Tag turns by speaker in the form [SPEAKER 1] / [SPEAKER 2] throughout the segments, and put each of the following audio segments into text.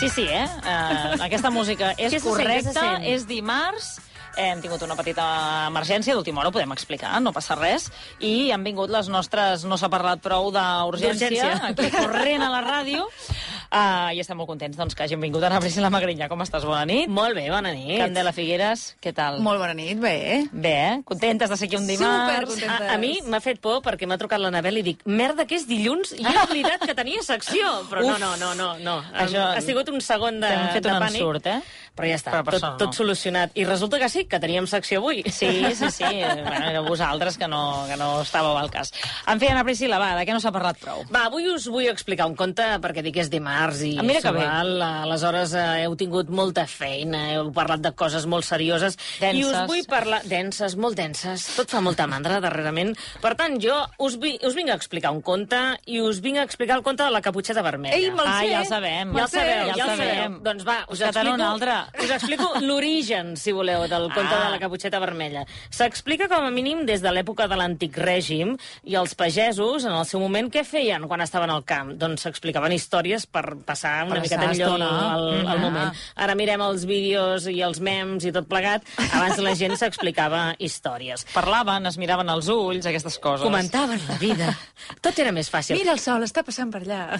[SPEAKER 1] Sí, sí, eh? Uh, aquesta música és
[SPEAKER 2] Què se sent, què se
[SPEAKER 1] correcta,
[SPEAKER 2] sent?
[SPEAKER 1] és dimarts, hem tingut una petita emergència, d'última hora ho podem explicar, no passa res, i han vingut les nostres No s'ha parlat prou d'urgència,
[SPEAKER 2] D'urgència.
[SPEAKER 1] aquí corrent a la ràdio, uh, i estem molt contents doncs, que hagin vingut Ana Priscila Magrinyà. Com estàs? Bona nit.
[SPEAKER 2] Molt bé, bona nit.
[SPEAKER 1] Candela Figueres, què tal?
[SPEAKER 3] Molt bona nit, bé.
[SPEAKER 1] Bé, eh? Contentes de ser aquí un dimarts?
[SPEAKER 3] Supercontentes.
[SPEAKER 2] A, a mi m'ha fet por perquè m'ha trucat l'Anabel i dic merda que és dilluns i he oblidat que tenia secció. Però
[SPEAKER 1] Uf.
[SPEAKER 2] no, no, no, no. no.
[SPEAKER 1] Això-
[SPEAKER 2] Ha sigut un segon de,
[SPEAKER 1] T'han Ah, fet
[SPEAKER 2] de
[SPEAKER 1] un
[SPEAKER 2] pànic.
[SPEAKER 1] ensurt, eh?
[SPEAKER 2] Però ja està,
[SPEAKER 1] Però per
[SPEAKER 2] tot,
[SPEAKER 1] sort no.
[SPEAKER 2] tot solucionat. I resulta que sí, que teníem secció avui.
[SPEAKER 1] Sí, sí, sí. bueno, era vosaltres que no, que no estàveu al cas. En fi, Ana Priscila, va, de què no s'ha parlat prou?
[SPEAKER 2] Va, avui us vull explicar un conte perquè dic que és dimarts i
[SPEAKER 1] Ah, mira que
[SPEAKER 2] s'ho
[SPEAKER 1] bé.
[SPEAKER 2] val. Aleshores eh, heu tingut molta feina, heu parlat de coses molt serioses. I us
[SPEAKER 1] Denses.
[SPEAKER 2] vull parlar... Denses, molt denses. Tot fa molta mandra darrerament. Per tant, jo us, vi... us vinc a explicar un conte i us vinc a explicar el conte de la caputxeta vermella.
[SPEAKER 3] Ei, me'l
[SPEAKER 1] Ah,
[SPEAKER 3] sé.
[SPEAKER 1] ja el sabem.
[SPEAKER 2] Ja el
[SPEAKER 3] Mercè,
[SPEAKER 2] sabeu, ja,
[SPEAKER 1] ja
[SPEAKER 2] el
[SPEAKER 1] el
[SPEAKER 2] sabeu.
[SPEAKER 1] sabem.
[SPEAKER 2] Doncs va, us
[SPEAKER 1] Busca-te'n
[SPEAKER 2] explico,
[SPEAKER 1] un altre.
[SPEAKER 2] us explico l'origen, si voleu, del conte
[SPEAKER 1] Ah.
[SPEAKER 2] de la caputxeta vermella. S'explica com a mínim des de l'època de l'antic règim i els pagesos, en el seu moment, què feien quan estaven al camp? Doncs s'explicaven històries per passar una
[SPEAKER 1] Per
[SPEAKER 2] miqueta
[SPEAKER 1] passar
[SPEAKER 2] millor el,
[SPEAKER 1] estona.
[SPEAKER 2] el, el
[SPEAKER 1] Mhm.
[SPEAKER 2] moment. Ara mirem els vídeos i els memes i tot plegat. Abans la gent s'explicava històries.
[SPEAKER 1] Doncs- Parlaven, es miraven als ulls, aquestes coses.
[SPEAKER 2] Comentaven la vida. Tot era més fàcil.
[SPEAKER 3] Mira el sol, està passant per allà.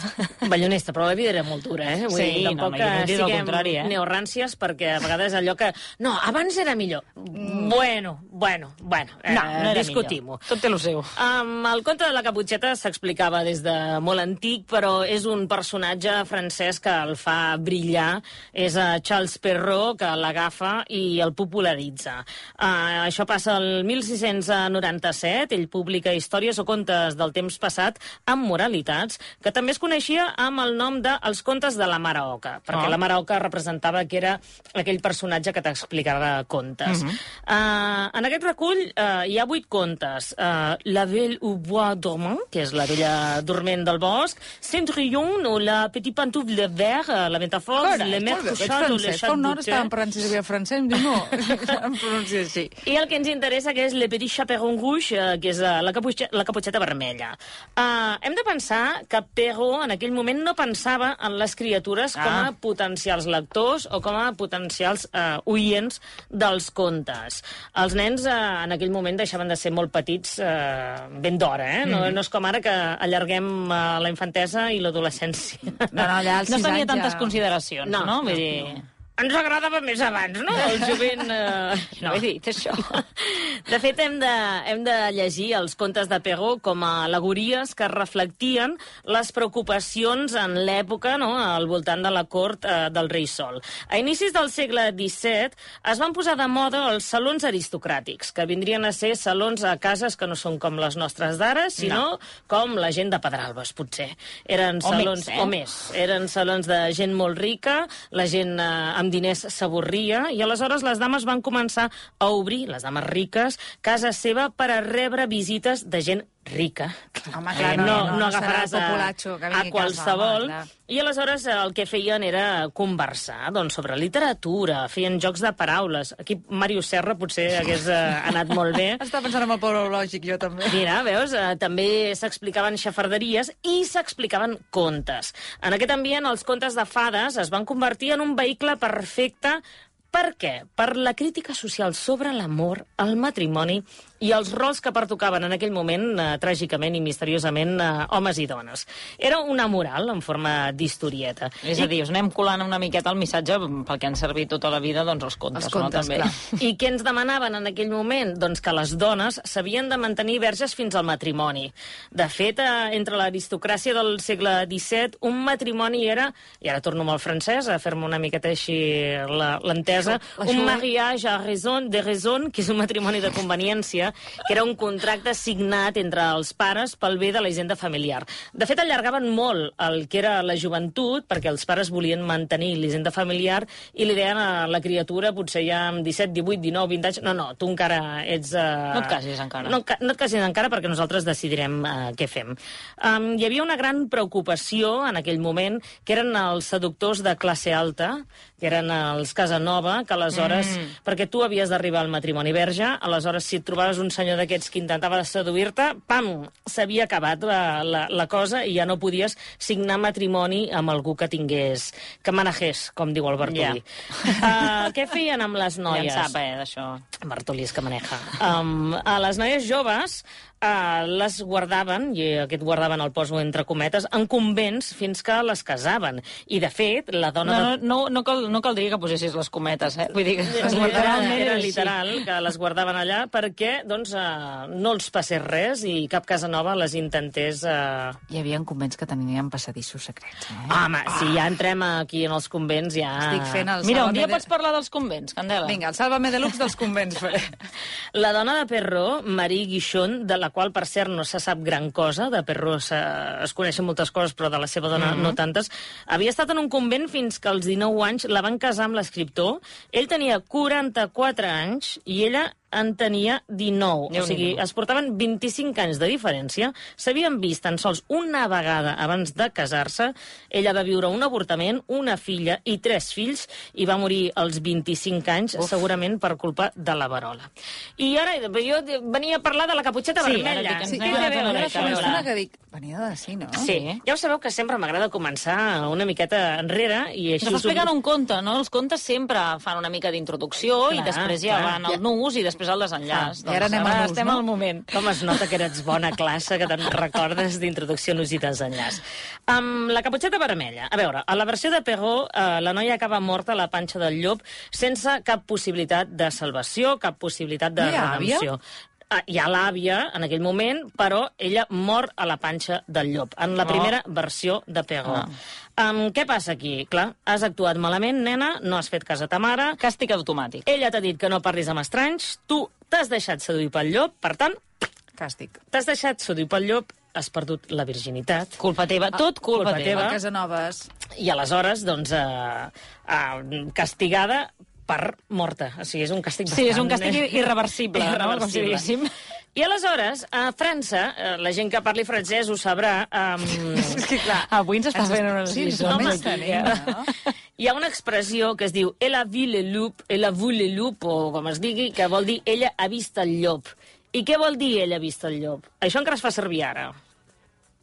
[SPEAKER 2] Ballonesta, però la vida era molt dura, eh? Vull
[SPEAKER 1] Sí,
[SPEAKER 2] dir,
[SPEAKER 1] no,
[SPEAKER 2] tampoc
[SPEAKER 1] home,
[SPEAKER 2] que
[SPEAKER 1] jo no diré el
[SPEAKER 2] siguem
[SPEAKER 1] contrari, eh?
[SPEAKER 2] neorràncies, perquè a vegades allò que... No, abans era millor. Bueno, bueno, bueno. Eh,
[SPEAKER 1] Mm. No, no era
[SPEAKER 2] Discutim-ho.
[SPEAKER 1] millor. Tot té lo seu.
[SPEAKER 2] Um, el conte de la caputxeta s'explicava des de molt antic, però és un personatge francès que el fa brillar. És a Charles Perrault, que l'agafa i el popularitza. Uh, això passa el 1697. Ell publica històries o contes del temps passat amb moralitats, que també es coneixia amb el nom de Els contes de la Mare Oca, perquè
[SPEAKER 1] Ah.
[SPEAKER 2] la Mare Oca representava que era aquell personatge que t'explicava contes. Mm -hmm. uh, en aquest recull uh, hi ha vuit contes. Uh, la Belle au Bois dormant, que és la vella dorment del bosc, Cendrillon o la Petit Pantoufle Vert, uh, la Ventafors, Le Mère
[SPEAKER 3] Molt bé, veig
[SPEAKER 2] Couchard o Le
[SPEAKER 3] francès. Fa
[SPEAKER 2] Chat
[SPEAKER 3] una hora
[SPEAKER 1] eh?
[SPEAKER 2] Boucher.
[SPEAKER 3] estàvem parlant si sabia francès, em diu no, em pronuncio així.
[SPEAKER 2] I el que ens interessa que és Le Petit Chaperon Rouge, eh, que és eh, la, caputxa, la caputxeta vermella. Uh, hem de pensar que Perrault en aquell moment no pensava en les criatures ah. com
[SPEAKER 1] Ah.
[SPEAKER 2] a potencials lectors o com a potencials uh, oients dels contes. Els nens uh, en aquell moment deixaven de ser molt petits uh, ben d'hora, eh? No,
[SPEAKER 3] Mm-hmm.
[SPEAKER 2] no és com ara que allarguem uh, la infantesa i l'adolescència.
[SPEAKER 3] No, no, allà als
[SPEAKER 1] No
[SPEAKER 3] sis
[SPEAKER 1] tenia
[SPEAKER 3] anys
[SPEAKER 1] tantes
[SPEAKER 3] ja...
[SPEAKER 1] consideracions, no?
[SPEAKER 2] no,
[SPEAKER 1] Vull dir...
[SPEAKER 2] Ens agradava més abans, no? El jovent... Uh...
[SPEAKER 1] No. Ho he dit, això.
[SPEAKER 2] De fet, hem de, hem de llegir els contes de Perrault com a alegories que reflectien les preocupacions en l'època no, al voltant de la cort eh, del rei Sol. A inicis del segle XVII es van posar de moda els salons aristocràtics, que vindrien a ser salons a cases que no són com les nostres d'ara, sinó no. com la gent de Pedralbes, potser. Eren
[SPEAKER 1] O més,
[SPEAKER 2] salons,
[SPEAKER 1] eh?
[SPEAKER 2] o més. Eren salons de gent molt rica, la gent eh, amb diners s'avorria, i aleshores les dames van començar a obrir, les dames riques, casa seva per a rebre visites de gent rica.
[SPEAKER 3] Home, clar, no, no, no serà
[SPEAKER 2] agafaràs
[SPEAKER 3] el
[SPEAKER 2] a,
[SPEAKER 3] populatxo que
[SPEAKER 2] a
[SPEAKER 3] vingui a casa,
[SPEAKER 2] qualsevol.
[SPEAKER 3] home, clar.
[SPEAKER 2] I aleshores eh, el que feien era conversar doncs, sobre literatura, feien jocs de paraules. Aquí Màrius Serra potser hagués eh, anat molt bé.
[SPEAKER 3] Estava pensant en el pobre lògic, jo també.
[SPEAKER 2] Mira, veus, eh, també s'explicaven xafarderies i s'explicaven contes. En aquest ambient, els contes de fades es van convertir en un vehicle perfecte per què? Per la crítica social sobre l'amor, el matrimoni i els rols que pertocaven en aquell moment, eh, tràgicament i misteriosament, eh, homes i dones. Era una moral en forma d'historieta.
[SPEAKER 1] És a dir, us anem colant una miqueta el missatge pel que han servit tota la vida, doncs els contes,
[SPEAKER 3] Els contes,
[SPEAKER 1] no? També.
[SPEAKER 3] clar.
[SPEAKER 2] I què ens demanaven en aquell moment? Doncs que les dones s'havien de mantenir verges fins al matrimoni. De fet, eh, entre l'aristocràcia del segle XVII, un matrimoni era, i ara torno amb el francès, a fer-me una miqueta així la- l'entesa,
[SPEAKER 3] Això-
[SPEAKER 2] un
[SPEAKER 3] això-
[SPEAKER 2] mariage a raison, de raison, que és un matrimoni de conveniència, que era un contracte signat entre els pares pel bé de la hisenda familiar. De fet, allargaven molt el que era la joventut, perquè els pares volien mantenir l'hisenda familiar i li deien a la criatura, potser ja amb 17, 18, 19, 20 anys, no, no, tu encara ets... Uh...
[SPEAKER 1] No et casis encara.
[SPEAKER 2] No, ca- no et casis encara perquè nosaltres decidirem uh, què fem. Um, hi havia una gran preocupació en aquell moment, que eren els seductors de classe alta, que eren els Casanova, jove, que aleshores... Mm. Perquè tu havies d'arribar al matrimoni verge, aleshores si et trobaves un senyor d'aquests que intentava seduir-te, pam, s'havia acabat la, la, la cosa i ja no podies signar matrimoni amb algú que tingués... que manegés, com diu el Bartolí. Yeah. Uh, què feien amb les noies?
[SPEAKER 1] Ja en sap, eh, d'això.
[SPEAKER 2] Bartolí és que maneja. Um, a les noies joves Uh, les guardaven, i aquest guardaven el poso entre cometes, en convents fins que les casaven. I, de fet, la dona...
[SPEAKER 1] No,
[SPEAKER 2] de-
[SPEAKER 1] no, no, no, cal, no caldria que posessis les cometes, eh? Vull dir que...
[SPEAKER 2] Era-
[SPEAKER 1] Literalment
[SPEAKER 2] era
[SPEAKER 1] era així.
[SPEAKER 2] literal, que les guardaven allà perquè doncs, eh, no els passés res i cap casa nova les intentés... Eh...
[SPEAKER 3] Hi havia convents que tenien passadissos secrets. Eh?
[SPEAKER 2] Home, si ja entrem aquí en els convents, ja...
[SPEAKER 3] Estic fent el
[SPEAKER 1] Ah. Mira, un
[SPEAKER 3] Sálvame
[SPEAKER 1] dia
[SPEAKER 3] de-
[SPEAKER 1] pots parlar dels convents, Candela.
[SPEAKER 3] Vinga, el sálvame de lux dels convents faré.
[SPEAKER 2] La dona de Perró, Marie Guixón, de la qual, per cert, no se sap gran cosa, de Perró se... es coneixen moltes coses, però de la seva dona no tantes, havia estat en un convent fins que als 19 anys la van casar amb l'escriptor. Ell tenia 44 anys i ella en tenia 19.
[SPEAKER 1] Déu-n'hi-do.
[SPEAKER 2] o sigui, es portaven 25 anys de diferència, s'havien vist tan sols una vegada abans de casar-se, ella va viure un avortament, una filla i tres fills, i va morir als 25 anys, Uf. segurament per culpa de la verola. I ara jo venia a parlar de la caputxeta
[SPEAKER 1] Sí, ara
[SPEAKER 2] vermella.
[SPEAKER 1] dic que ens
[SPEAKER 2] Sí,
[SPEAKER 1] n'hem
[SPEAKER 2] té a
[SPEAKER 1] anat una
[SPEAKER 2] veure,
[SPEAKER 1] mica,
[SPEAKER 2] té a
[SPEAKER 1] a
[SPEAKER 2] veure.
[SPEAKER 1] veure.
[SPEAKER 3] Una que dic, venia de sí, no?
[SPEAKER 2] Sí,
[SPEAKER 1] Ah, Sí.
[SPEAKER 2] ja ho sabeu que sempre m'agrada començar una miqueta enrere i així
[SPEAKER 1] Ens està
[SPEAKER 2] us ho-
[SPEAKER 1] explicant un conte, no? Els contes sempre fan una mica d'introducció i
[SPEAKER 2] Clar,
[SPEAKER 1] després ja
[SPEAKER 2] clar.
[SPEAKER 1] van al nus i després al desenllaç. Doncs
[SPEAKER 3] Clar, Ah, i ara anem al nus,
[SPEAKER 1] estem
[SPEAKER 3] no?
[SPEAKER 1] al moment.
[SPEAKER 2] Com es nota que eres bona classe, que te'n recordes d'introducció, nus i desenllaç. Amb la caputxeta vermella. A veure, a la versió de Perrot, eh, la noia acaba morta a la panxa del llop sense cap possibilitat de salvació, cap possibilitat de
[SPEAKER 3] No hi ha àvia?
[SPEAKER 2] redempció. Ah, Hi ha l'àvia en aquell moment, però ella mor a la panxa del llop, en la
[SPEAKER 3] Oh.
[SPEAKER 1] No.
[SPEAKER 2] primera versió de Perrot.
[SPEAKER 3] Ah.
[SPEAKER 2] Um, què passa aquí? Clar, has actuat malament, nena, no has fet cas a ta mare,
[SPEAKER 1] Càstig automàtic.
[SPEAKER 2] ella t'ha dit que no parlis amb estranys, tu t'has deixat seduir pel llop, per tant,
[SPEAKER 3] Càstig.
[SPEAKER 2] T'has deixat seduir pel llop, has perdut la virginitat.
[SPEAKER 1] Culpa teva, tot culpa,
[SPEAKER 2] Ah, culpa
[SPEAKER 1] teva.
[SPEAKER 2] teva.
[SPEAKER 3] A Casanovas.
[SPEAKER 2] I aleshores, doncs, eh, eh, castigada per morta. O sigui, és un càstig
[SPEAKER 1] Sí, és un
[SPEAKER 2] bastant-
[SPEAKER 1] càstig irreversible, no?
[SPEAKER 2] irreversible.
[SPEAKER 1] Com si diguéssim.
[SPEAKER 2] I aleshores, a França, eh, la gent que parli francès ho sabrà, eh,
[SPEAKER 3] És que, clar...
[SPEAKER 1] Avui ens està
[SPEAKER 3] ens-
[SPEAKER 1] fent unes
[SPEAKER 3] sí, ens
[SPEAKER 1] lliçons
[SPEAKER 3] home,
[SPEAKER 1] aquí,
[SPEAKER 3] tenim,
[SPEAKER 1] eh?
[SPEAKER 3] no?
[SPEAKER 2] hi ha una expressió que es diu «elle a vu le loup», «elle a vu le loup», o com es digui, que vol dir «ella ha vist el llop». I què vol dir «ella ha vist el llop»? Això encara es fa servir ara.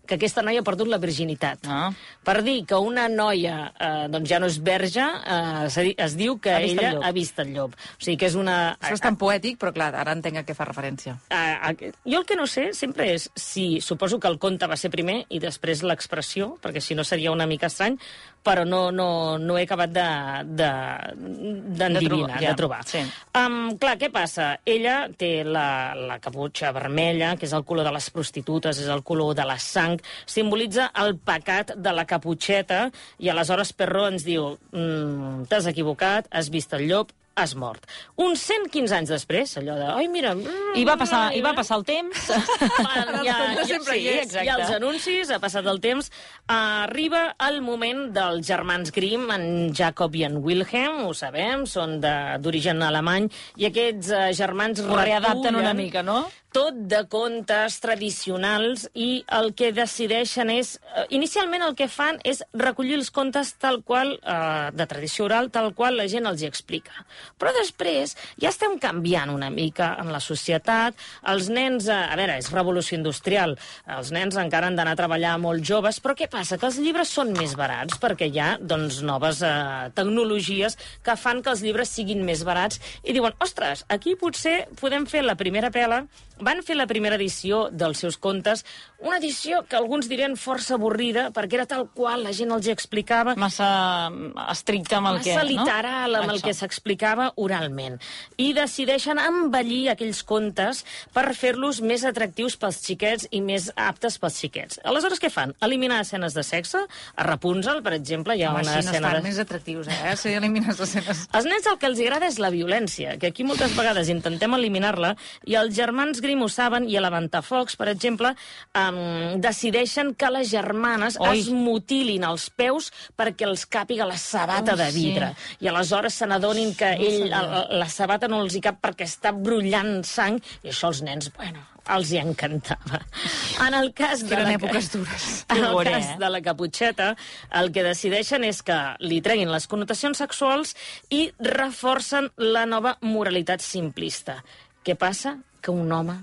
[SPEAKER 2] Que aquesta noia ha perdut la virginitat.
[SPEAKER 1] Ah.
[SPEAKER 2] per dir que una noia eh, doncs ja no és verge, eh, es, di- es diu que
[SPEAKER 1] Ha vist el
[SPEAKER 2] ella
[SPEAKER 1] llop.
[SPEAKER 2] ha vist el llop. O sigui que és una...
[SPEAKER 1] Ah,
[SPEAKER 3] Això és tan poètic, però clar, ara entenc a què fa referència.
[SPEAKER 2] a, a, Eh, jo el que no sé sempre és si suposo que el conte va ser primer i després l'expressió, perquè si no seria una mica estrany, però no, no, no he acabat d'endivinar, de, d'endevinar,
[SPEAKER 1] trobar, ja.
[SPEAKER 2] de trobar.
[SPEAKER 1] Sí.
[SPEAKER 2] Um, clar, què passa? Ella té la, la caputxa vermella, que és el color de les prostitutes, és el color de la sang, simbolitza el pecat de la caputxeta, i aleshores Perró ens diu mm, t'has equivocat, has vist el llop, has mort. Uns 115 anys després, allò de... Ai, mira... mm,
[SPEAKER 1] I va passar, i va
[SPEAKER 2] ai,
[SPEAKER 1] passar el temps.
[SPEAKER 2] Bueno,
[SPEAKER 1] El temps
[SPEAKER 2] ja, ja,
[SPEAKER 1] sempre
[SPEAKER 2] sí,
[SPEAKER 1] hi és,
[SPEAKER 2] exacte. ja els anuncis, ha passat el temps. Arriba el moment dels germans Grimm, en Jacob i en Wilhelm, ho sabem, són de- d'origen alemany, i aquests eh, germans
[SPEAKER 1] Ho readapten una
[SPEAKER 2] recullen
[SPEAKER 1] mica, no?
[SPEAKER 2] tot de contes tradicionals i el que decideixen és... eh, Inicialment el que fan és recollir els contes tal qual, eh, de tradició oral, tal qual la gent els hi explica. Però després ja estem canviant una mica en la societat. Els nens... Eh, a veure, és revolució industrial. Els nens encara han d'anar a treballar molt joves, però què passa? Que els llibres són més barats perquè hi ha doncs, noves eh, tecnologies que fan que els llibres siguin més barats i diuen, ostres, aquí potser podem fer la primera pela. Van fer la primera edició dels seus contes, una edició que alguns dirien força avorrida perquè era tal qual la gent els hi explicava
[SPEAKER 1] Massa estricte amb el que...
[SPEAKER 2] massa literal amb el
[SPEAKER 1] Això.
[SPEAKER 2] que s'explicava oralment. I decideixen envellir aquells contes per fer-los més atractius pels xiquets i més aptes pels xiquets. Aleshores, què fan? Eliminar escenes de sexe? A Rapunzel, per exemple, hi ha
[SPEAKER 3] Home,
[SPEAKER 2] una
[SPEAKER 3] així no
[SPEAKER 2] escena
[SPEAKER 3] estan
[SPEAKER 2] de...
[SPEAKER 3] més atractius, eh? Si elimines les escenes...
[SPEAKER 2] Als nens el que els agrada és la violència, que aquí moltes vegades intentem eliminar-la, i els germans Grimm Marim ho saben, i a la Ventafocs, per exemple, um, decideixen que les germanes
[SPEAKER 1] Oi.
[SPEAKER 2] Oi. es mutilin els peus perquè els càpiga la sabata
[SPEAKER 3] Ui,
[SPEAKER 2] de
[SPEAKER 3] sí.
[SPEAKER 2] vidre. I aleshores se n'adonin que
[SPEAKER 3] No ho
[SPEAKER 2] ell,
[SPEAKER 3] sabia.
[SPEAKER 2] el, la sabata no els hi cap perquè està brollant sang, i això als nens, bueno, els hi encantava. En el cas de
[SPEAKER 3] Eren
[SPEAKER 2] la...
[SPEAKER 3] èpoques dures.
[SPEAKER 2] En el
[SPEAKER 1] Horror,
[SPEAKER 2] cas
[SPEAKER 1] eh?
[SPEAKER 2] de la caputxeta, el que decideixen és que li treguin les connotacions sexuals i reforcen la nova moralitat simplista. Què passa? Que un home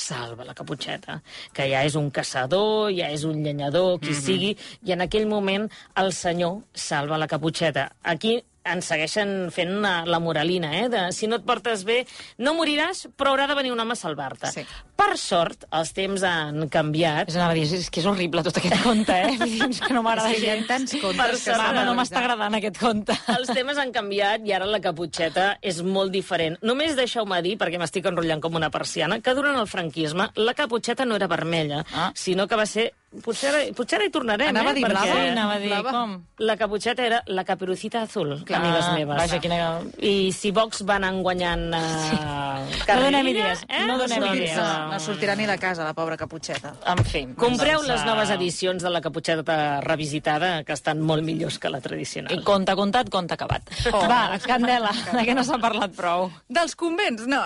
[SPEAKER 2] salva la caputxeta, que ja és un caçador, ja és un llenyador, qui mm -hmm. sigui, i en aquell moment el senyor salva la caputxeta. Aquí ens segueixen fent una, la moralina, eh? De, si no et portes bé, no moriràs, però haurà de venir un home a salvar-te.
[SPEAKER 3] Sí.
[SPEAKER 2] Per sort, els temps han canviat
[SPEAKER 1] És, anava a dir, és que és horrible tot aquest conte, eh? Vull dir, és que no m'agrada
[SPEAKER 3] És que hi ha
[SPEAKER 1] gens.
[SPEAKER 3] tants contes
[SPEAKER 1] Per
[SPEAKER 2] que
[SPEAKER 1] sort,
[SPEAKER 2] s'han
[SPEAKER 1] Mama, no
[SPEAKER 3] analitzat.
[SPEAKER 1] m'està agradant aquest conte.
[SPEAKER 2] els temes han canviat i ara la caputxeta és molt diferent. Només deixeu-me dir, perquè m'estic enrotllant com una persiana, que durant el franquisme la caputxeta no era vermella,
[SPEAKER 1] Ah.
[SPEAKER 2] ah. sinó que va ser... Potser ara, potser ara hi tornarem,
[SPEAKER 3] Anava a
[SPEAKER 2] eh?
[SPEAKER 3] dir
[SPEAKER 2] perquè
[SPEAKER 3] blava?
[SPEAKER 1] Anava a dir,
[SPEAKER 3] Blava.
[SPEAKER 1] com?
[SPEAKER 2] La caputxeta era la caperucita azul,
[SPEAKER 3] Clar,
[SPEAKER 2] amigues meves.
[SPEAKER 1] vaja, quina-
[SPEAKER 2] I si Vox va anar guanyant... Eh,
[SPEAKER 1] No
[SPEAKER 2] carrerilla,
[SPEAKER 1] donem idees,
[SPEAKER 2] eh?
[SPEAKER 1] no donem
[SPEAKER 2] Doncs,
[SPEAKER 1] idees.
[SPEAKER 2] eh,
[SPEAKER 3] No sortirà ni de casa, la pobra caputxeta.
[SPEAKER 1] En fi.
[SPEAKER 2] Compreu
[SPEAKER 1] doncs,
[SPEAKER 2] les
[SPEAKER 1] eh,
[SPEAKER 2] noves edicions de la caputxeta revisitada, que estan molt millors que la
[SPEAKER 1] I
[SPEAKER 2] tradicional.
[SPEAKER 1] conte contat, conte acabat.
[SPEAKER 3] Oh.
[SPEAKER 1] Va, Candela, de què no s'ha parlat prou?
[SPEAKER 3] Dels convents, no.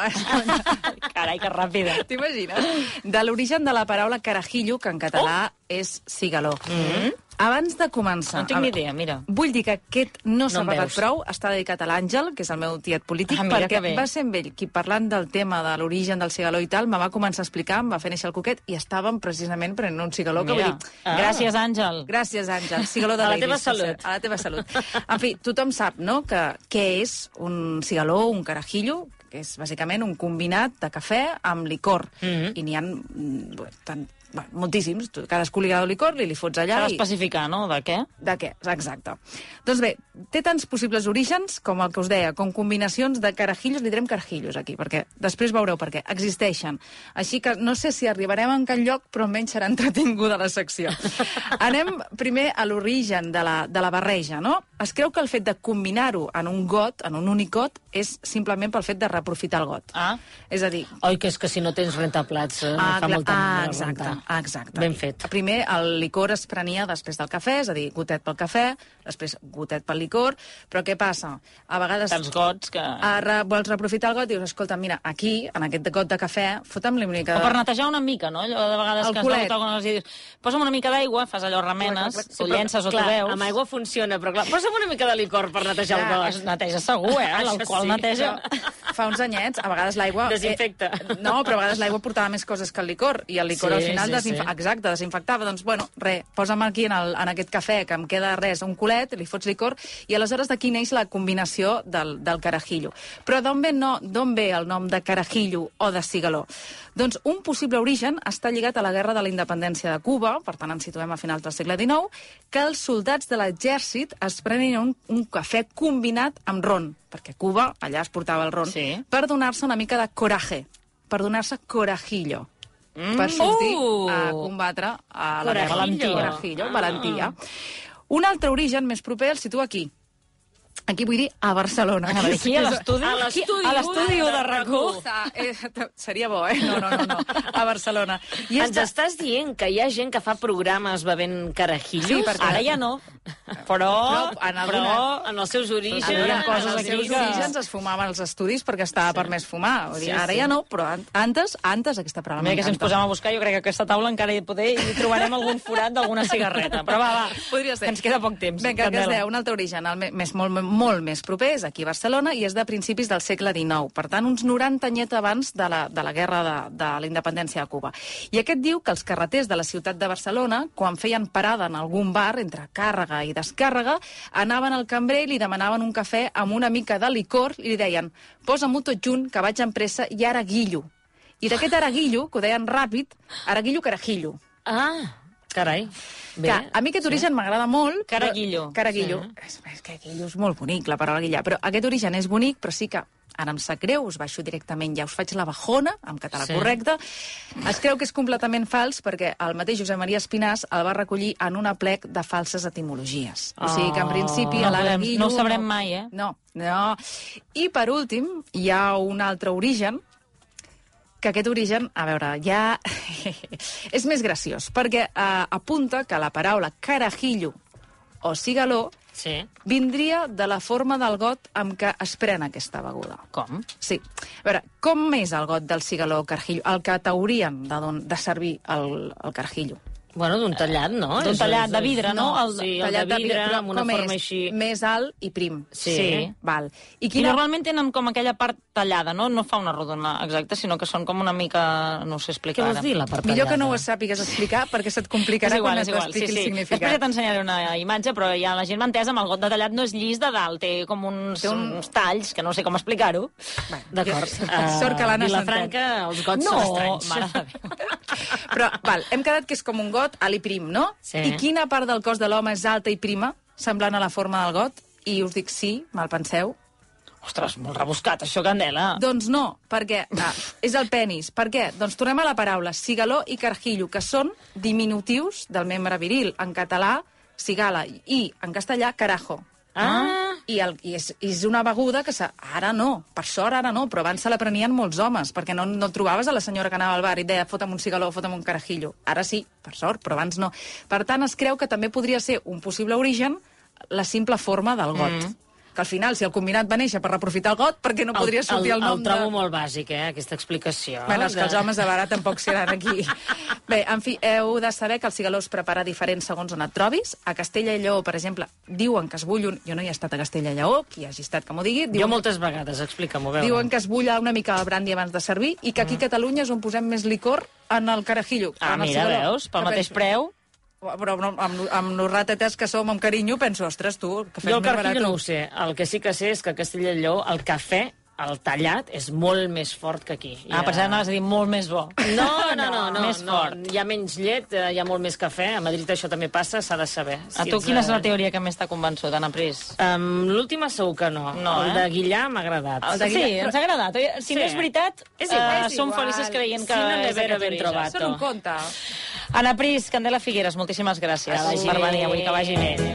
[SPEAKER 1] Carai, que ràpida.
[SPEAKER 3] T'imagines? De l'origen de la paraula carajillo, que en català oh. és cigaló. Mm -hmm. Abans de començar...
[SPEAKER 1] Mm-hmm. No tinc ni idea, mira.
[SPEAKER 3] Vull dir que aquest no s'ha
[SPEAKER 2] em
[SPEAKER 3] no parlat
[SPEAKER 2] veus.
[SPEAKER 3] prou, està dedicat a l'Àngel, que és el meu tiet polític,
[SPEAKER 1] Ah, mira que bé.
[SPEAKER 3] perquè va ser amb ell qui, parlant del tema de l'origen del cigaló i tal, me va començar a explicar, em va fer néixer el coquet, i estàvem precisament prenent un cigaló, que
[SPEAKER 1] Mira.
[SPEAKER 3] vull dir...
[SPEAKER 1] Ah. Gràcies, Àngel.
[SPEAKER 3] Gràcies, Àngel. Cigaló de
[SPEAKER 2] A la
[SPEAKER 3] Ladies,
[SPEAKER 2] teva
[SPEAKER 3] per cert.
[SPEAKER 2] salut.
[SPEAKER 3] A la teva salut. En fi, tothom sap, no?, que què és un cigaló, un carajillo, que és bàsicament un combinat de cafè amb licor. Mm
[SPEAKER 2] Mm-hmm.
[SPEAKER 3] -hmm. I n'hi ha mm, bé, tant, bueno, moltíssims. Tu, cadascú li agrada el licor, li, li fots
[SPEAKER 1] S'ha
[SPEAKER 3] allà i...
[SPEAKER 1] d'especificar, no?, de què?
[SPEAKER 3] De què? Exacte. Doncs bé, té tants possibles orígens, com el que us deia, com combinacions de carajillos, li direm carajillos aquí, perquè després veureu per què. Existeixen. Així que no sé si arribarem en cap lloc, però almenys serà entretinguda la secció. Anem primer a l'origen de, la, de la barreja, no? Es creu que el fet de combinar-ho en un got, en un únic got, és simplement pel fet de reaprofitar el got.
[SPEAKER 1] Ah.
[SPEAKER 3] És a dir,
[SPEAKER 2] Oi, que és que si no tens rentaplats, eh, ah,
[SPEAKER 3] Ah,
[SPEAKER 2] fa
[SPEAKER 3] clar,
[SPEAKER 2] molta
[SPEAKER 3] ah,
[SPEAKER 2] mandra
[SPEAKER 3] exacte,
[SPEAKER 2] rentar.
[SPEAKER 3] ah, exacte.
[SPEAKER 2] Ben fet.
[SPEAKER 3] Primer, el licor es prenia després del cafè, és a dir, gotet pel cafè, després gotet pel licor, però què passa? A vegades...
[SPEAKER 1] Tants gots que...
[SPEAKER 3] Ara vols reaprofitar el got i dius, escolta, mira, aquí, en aquest got de cafè, fotem li una mica...
[SPEAKER 2] Oh,
[SPEAKER 1] O per netejar una mica, no? Allò de vegades
[SPEAKER 3] eh, El
[SPEAKER 1] que
[SPEAKER 3] culet.
[SPEAKER 1] es dona quan els dius posa'm una mica d'aigua, fas allò remenes,
[SPEAKER 3] Clar, clar, clar.
[SPEAKER 1] ho llences o t'ho
[SPEAKER 2] clar,
[SPEAKER 1] veus.
[SPEAKER 2] amb aigua funciona, però clar, posa'm una mica de licor per netejar
[SPEAKER 3] Ah,
[SPEAKER 2] el
[SPEAKER 1] Ja,
[SPEAKER 2] gos.
[SPEAKER 1] es neteja segur, eh?
[SPEAKER 2] Això
[SPEAKER 1] L'alcohol
[SPEAKER 2] sí.
[SPEAKER 1] neteja...
[SPEAKER 3] Fa uns anyets, a vegades l'aigua...
[SPEAKER 2] Desinfecta.
[SPEAKER 3] Eh, no, però a vegades l'aigua portava més coses que el licor, i el licor
[SPEAKER 2] Sí,
[SPEAKER 3] al final
[SPEAKER 2] sí, sí.
[SPEAKER 3] exacte, desinfectava. Doncs, bueno, re, posa'm aquí en, el, en aquest cafè, que em queda res, un culet, li fots licor, i aleshores d'aquí neix la combinació del, del carajillo. Però d'on ve, no, d'on ve el nom de carajillo o de cigaló? Doncs un possible origen està lligat a la Guerra de la Independència de Cuba, per tant ens situem a finals del segle XIX, que els soldats de l'exèrcit es prenen un, un cafè combinat amb ron, perquè a Cuba allà es portava el ron,
[SPEAKER 1] Sí.
[SPEAKER 3] per donar-se una mica de coraje, per donar-se corajillo Mm. per sortir
[SPEAKER 2] Uh!
[SPEAKER 3] a combatre a la
[SPEAKER 2] Corajillo.
[SPEAKER 3] guerra.
[SPEAKER 2] Valentia.
[SPEAKER 3] Corajillo, valentia. Un altre origen més proper el situa aquí. Aquí vull dir a Barcelona.
[SPEAKER 1] Aquí, a l'estudi...
[SPEAKER 2] A l'estudi
[SPEAKER 1] a l'estudi
[SPEAKER 2] u
[SPEAKER 1] u de RAC1.
[SPEAKER 3] Ah, eh, seria bo, eh? No, no, no, no. A Barcelona.
[SPEAKER 2] I
[SPEAKER 3] és
[SPEAKER 2] Ens
[SPEAKER 3] de-
[SPEAKER 2] estàs dient que hi ha gent que fa programes bevent carajillos?
[SPEAKER 3] Sí, perquè-
[SPEAKER 1] Ara ja no. Però...
[SPEAKER 3] Però en alguna-
[SPEAKER 2] Però en els seus orígens...
[SPEAKER 1] Sí, hi ha
[SPEAKER 3] Havia
[SPEAKER 1] coses
[SPEAKER 2] en
[SPEAKER 3] coses els
[SPEAKER 2] els
[SPEAKER 1] aquí
[SPEAKER 3] seus
[SPEAKER 1] que-
[SPEAKER 3] orígens es fumaven els estudis perquè estava sí. permès fumar. O
[SPEAKER 2] Sí,
[SPEAKER 3] sigui, ara
[SPEAKER 2] sí.
[SPEAKER 3] ja no, però an- antes, antes aquesta paraula
[SPEAKER 1] Mira que si ens
[SPEAKER 3] m'encanta.
[SPEAKER 1] posem a buscar, jo crec que aquesta taula encara hi poder hi trobarem algun forat d'alguna cigarreta. Però va, va,
[SPEAKER 3] Podria ser.
[SPEAKER 1] que ens queda poc temps.
[SPEAKER 3] Vinga, que es
[SPEAKER 1] Candela.
[SPEAKER 3] deia, un altre origen, el me- més, molt, molt més proper, és aquí a Barcelona i és de principis del segle XIX. Per tant, uns 90 anyet abans de la, de la guerra de, de la independència de Cuba. I aquest diu que els carreters de la ciutat de Barcelona, quan feien parada en algun bar, entre càrrega i descàrrega, anaven al cambrer i li demanaven un cafè amb una mica de licor i li deien «Posa-m'ho tot junt, que vaig amb pressa i ara guillo». I d'aquest araguillo, que ho deien ràpid, araguillo carajillo.
[SPEAKER 2] Ah, carai. Bé.
[SPEAKER 3] Bé, que a mi aquest origen m'agrada molt. però-
[SPEAKER 1] Caraguillo.
[SPEAKER 3] Caraguillo. Sí. És, és que guillo és molt bonic, la paraula guillà. Però aquest origen és bonic, però sí que ara em sap greu, us baixo directament, ja us faig la bajona, en català
[SPEAKER 2] Sí.
[SPEAKER 3] sí. correcte. Es creu que és completament fals perquè el mateix Josep Maria Espinàs el va recollir en un aplec de falses etimologies. O sigui que, en
[SPEAKER 2] Oh.
[SPEAKER 3] principi,
[SPEAKER 1] No
[SPEAKER 3] a la
[SPEAKER 1] podem-
[SPEAKER 3] guillo
[SPEAKER 1] no ho sabrem mai, eh?
[SPEAKER 3] No, no. I, per últim, hi ha un altre origen que aquest origen, a veure, ja és més graciós, perquè eh, apunta que la paraula carajillo o cigaló
[SPEAKER 2] Sí.
[SPEAKER 3] vindria de la forma del got amb què es pren aquesta beguda.
[SPEAKER 1] Com?
[SPEAKER 3] Sí. A veure, com és el got del cigaló o carjillo? El que t'haurien de, don, de servir el, el carjillo.
[SPEAKER 2] Bueno, d'un tallat, no?
[SPEAKER 1] D'un
[SPEAKER 2] És-
[SPEAKER 1] tallat de
[SPEAKER 2] és-
[SPEAKER 1] vidre, no?
[SPEAKER 2] El, sí, el de vidre,
[SPEAKER 3] però
[SPEAKER 2] amb una
[SPEAKER 3] com
[SPEAKER 2] forma
[SPEAKER 3] és?
[SPEAKER 2] així...
[SPEAKER 3] Més alt i prim. eh?
[SPEAKER 2] Sí.
[SPEAKER 3] Val. I
[SPEAKER 1] I
[SPEAKER 3] quina...
[SPEAKER 1] normalment tenen com aquella part tallada, no? No fa una rodona exacta, sinó que són com una mica... No ho sé
[SPEAKER 2] Què
[SPEAKER 1] explicar
[SPEAKER 2] vols
[SPEAKER 1] ara.
[SPEAKER 2] dir, la part
[SPEAKER 3] Millor
[SPEAKER 2] tallada?
[SPEAKER 3] que no ho sàpigues explicar perquè se't complicarà
[SPEAKER 1] és igual,
[SPEAKER 3] quan
[SPEAKER 1] és
[SPEAKER 3] et
[SPEAKER 1] igual. Sí,
[SPEAKER 3] t'expliqui
[SPEAKER 1] sí.
[SPEAKER 3] el significat.
[SPEAKER 1] Després ja t'ensenyaré una imatge, però ja la gent m'ha entès amb el got de tallat no és llis de dalt, té com uns,
[SPEAKER 3] Té un-
[SPEAKER 1] uns talls, que no sé com explicar-ho.
[SPEAKER 2] D'acord.
[SPEAKER 3] Ah, Sort que l'Anna
[SPEAKER 2] Vilafranca, els gots són estranys.
[SPEAKER 1] mare de Déu.
[SPEAKER 3] Però, val, hem quedat que és com un got alt i prim, no?
[SPEAKER 2] Sí.
[SPEAKER 3] I quina part del cos de l'home és alta i prima, semblant a la forma del got? I us dic sí, mal penseu.
[SPEAKER 1] Ostres, molt rebuscat, això, Candela.
[SPEAKER 3] Doncs no, perquè ah, és el penis. Per què? Doncs tornem a la paraula cigaló i carjillo, que són diminutius del membre viril. En català, cigala, i en castellà, carajo.
[SPEAKER 2] Ah.
[SPEAKER 3] I, el, i és, és una beguda que se, ara no, per sort ara no, però abans se la prenien molts homes, perquè no, no trobaves a la senyora que anava al bar i et deia fota'm un cigaló, fota'm un carajillo. Ara sí, per sort, però abans no. Per tant, es creu que també podria ser un possible origen la simple forma del got. Mm. Que al final, si el combinat va néixer per reprofitar el got, perquè no podria sortir el,
[SPEAKER 2] el
[SPEAKER 3] nom
[SPEAKER 2] trobo
[SPEAKER 3] de...
[SPEAKER 2] molt bàsic, eh, aquesta explicació.
[SPEAKER 3] Bueno, és que
[SPEAKER 2] de-
[SPEAKER 3] els homes de vara tampoc seran aquí. Bé, en fi, heu de saber que el cigaló es prepara diferent segons on et trobis. A Castella i Lleó, per exemple, diuen que es bull un... Jo no hi he estat a Castella i Lleó, qui hagi estat que m'ho digui.
[SPEAKER 2] Jo
[SPEAKER 3] Diuen,
[SPEAKER 2] moltes vegades, explica-m'ho, a veure.
[SPEAKER 3] diuen que es bulla una mica el brandy abans de servir i que aquí a Catalunya és on posem més licor en el carajillo.
[SPEAKER 1] Ah,
[SPEAKER 3] en el
[SPEAKER 1] mira,
[SPEAKER 3] cigaló.
[SPEAKER 1] veus? Pel
[SPEAKER 3] Que
[SPEAKER 1] mateix
[SPEAKER 3] penso-
[SPEAKER 1] preu.
[SPEAKER 3] Però amb, amb, amb nos ratetes que som, amb carinyo, penso, ostres, tu, que fem
[SPEAKER 2] Jo el
[SPEAKER 3] més
[SPEAKER 2] carquillo
[SPEAKER 3] barat.
[SPEAKER 2] no ho sé. El que sí que sé és que a Castella i Lleó el cafè, el tallat, és molt més fort que aquí.
[SPEAKER 1] Ah, pensava que anaves a dir molt més bo.
[SPEAKER 2] No, no, no, no,
[SPEAKER 1] Més
[SPEAKER 2] no.
[SPEAKER 1] fort.
[SPEAKER 2] Hi ha menys llet, eh, hi ha molt més cafè. A Madrid això també passa, s'ha de saber.
[SPEAKER 1] A tu quina és la teoria que més t'ha convençut, Anna Pris?
[SPEAKER 2] Um, L'última segur que no.
[SPEAKER 1] No,
[SPEAKER 2] el
[SPEAKER 1] eh?
[SPEAKER 2] de Guillà m'ha agradat.
[SPEAKER 1] El de sí, ens ha agradat. Oi, Si
[SPEAKER 2] Sí.
[SPEAKER 1] sí. no és veritat,
[SPEAKER 2] És
[SPEAKER 1] és
[SPEAKER 2] igual.
[SPEAKER 1] igual, uh, som
[SPEAKER 3] igual.
[SPEAKER 1] felices creient que
[SPEAKER 2] Si no
[SPEAKER 1] és
[SPEAKER 2] n'he
[SPEAKER 1] aquest
[SPEAKER 2] ben
[SPEAKER 1] origen.
[SPEAKER 2] trobat.
[SPEAKER 3] Són un conte.
[SPEAKER 1] Ana Pris, Candela Figueres, moltíssimes gràcies
[SPEAKER 2] Que vagi
[SPEAKER 3] Ah,
[SPEAKER 1] per
[SPEAKER 2] bé.
[SPEAKER 1] venir avui, que vagi bé.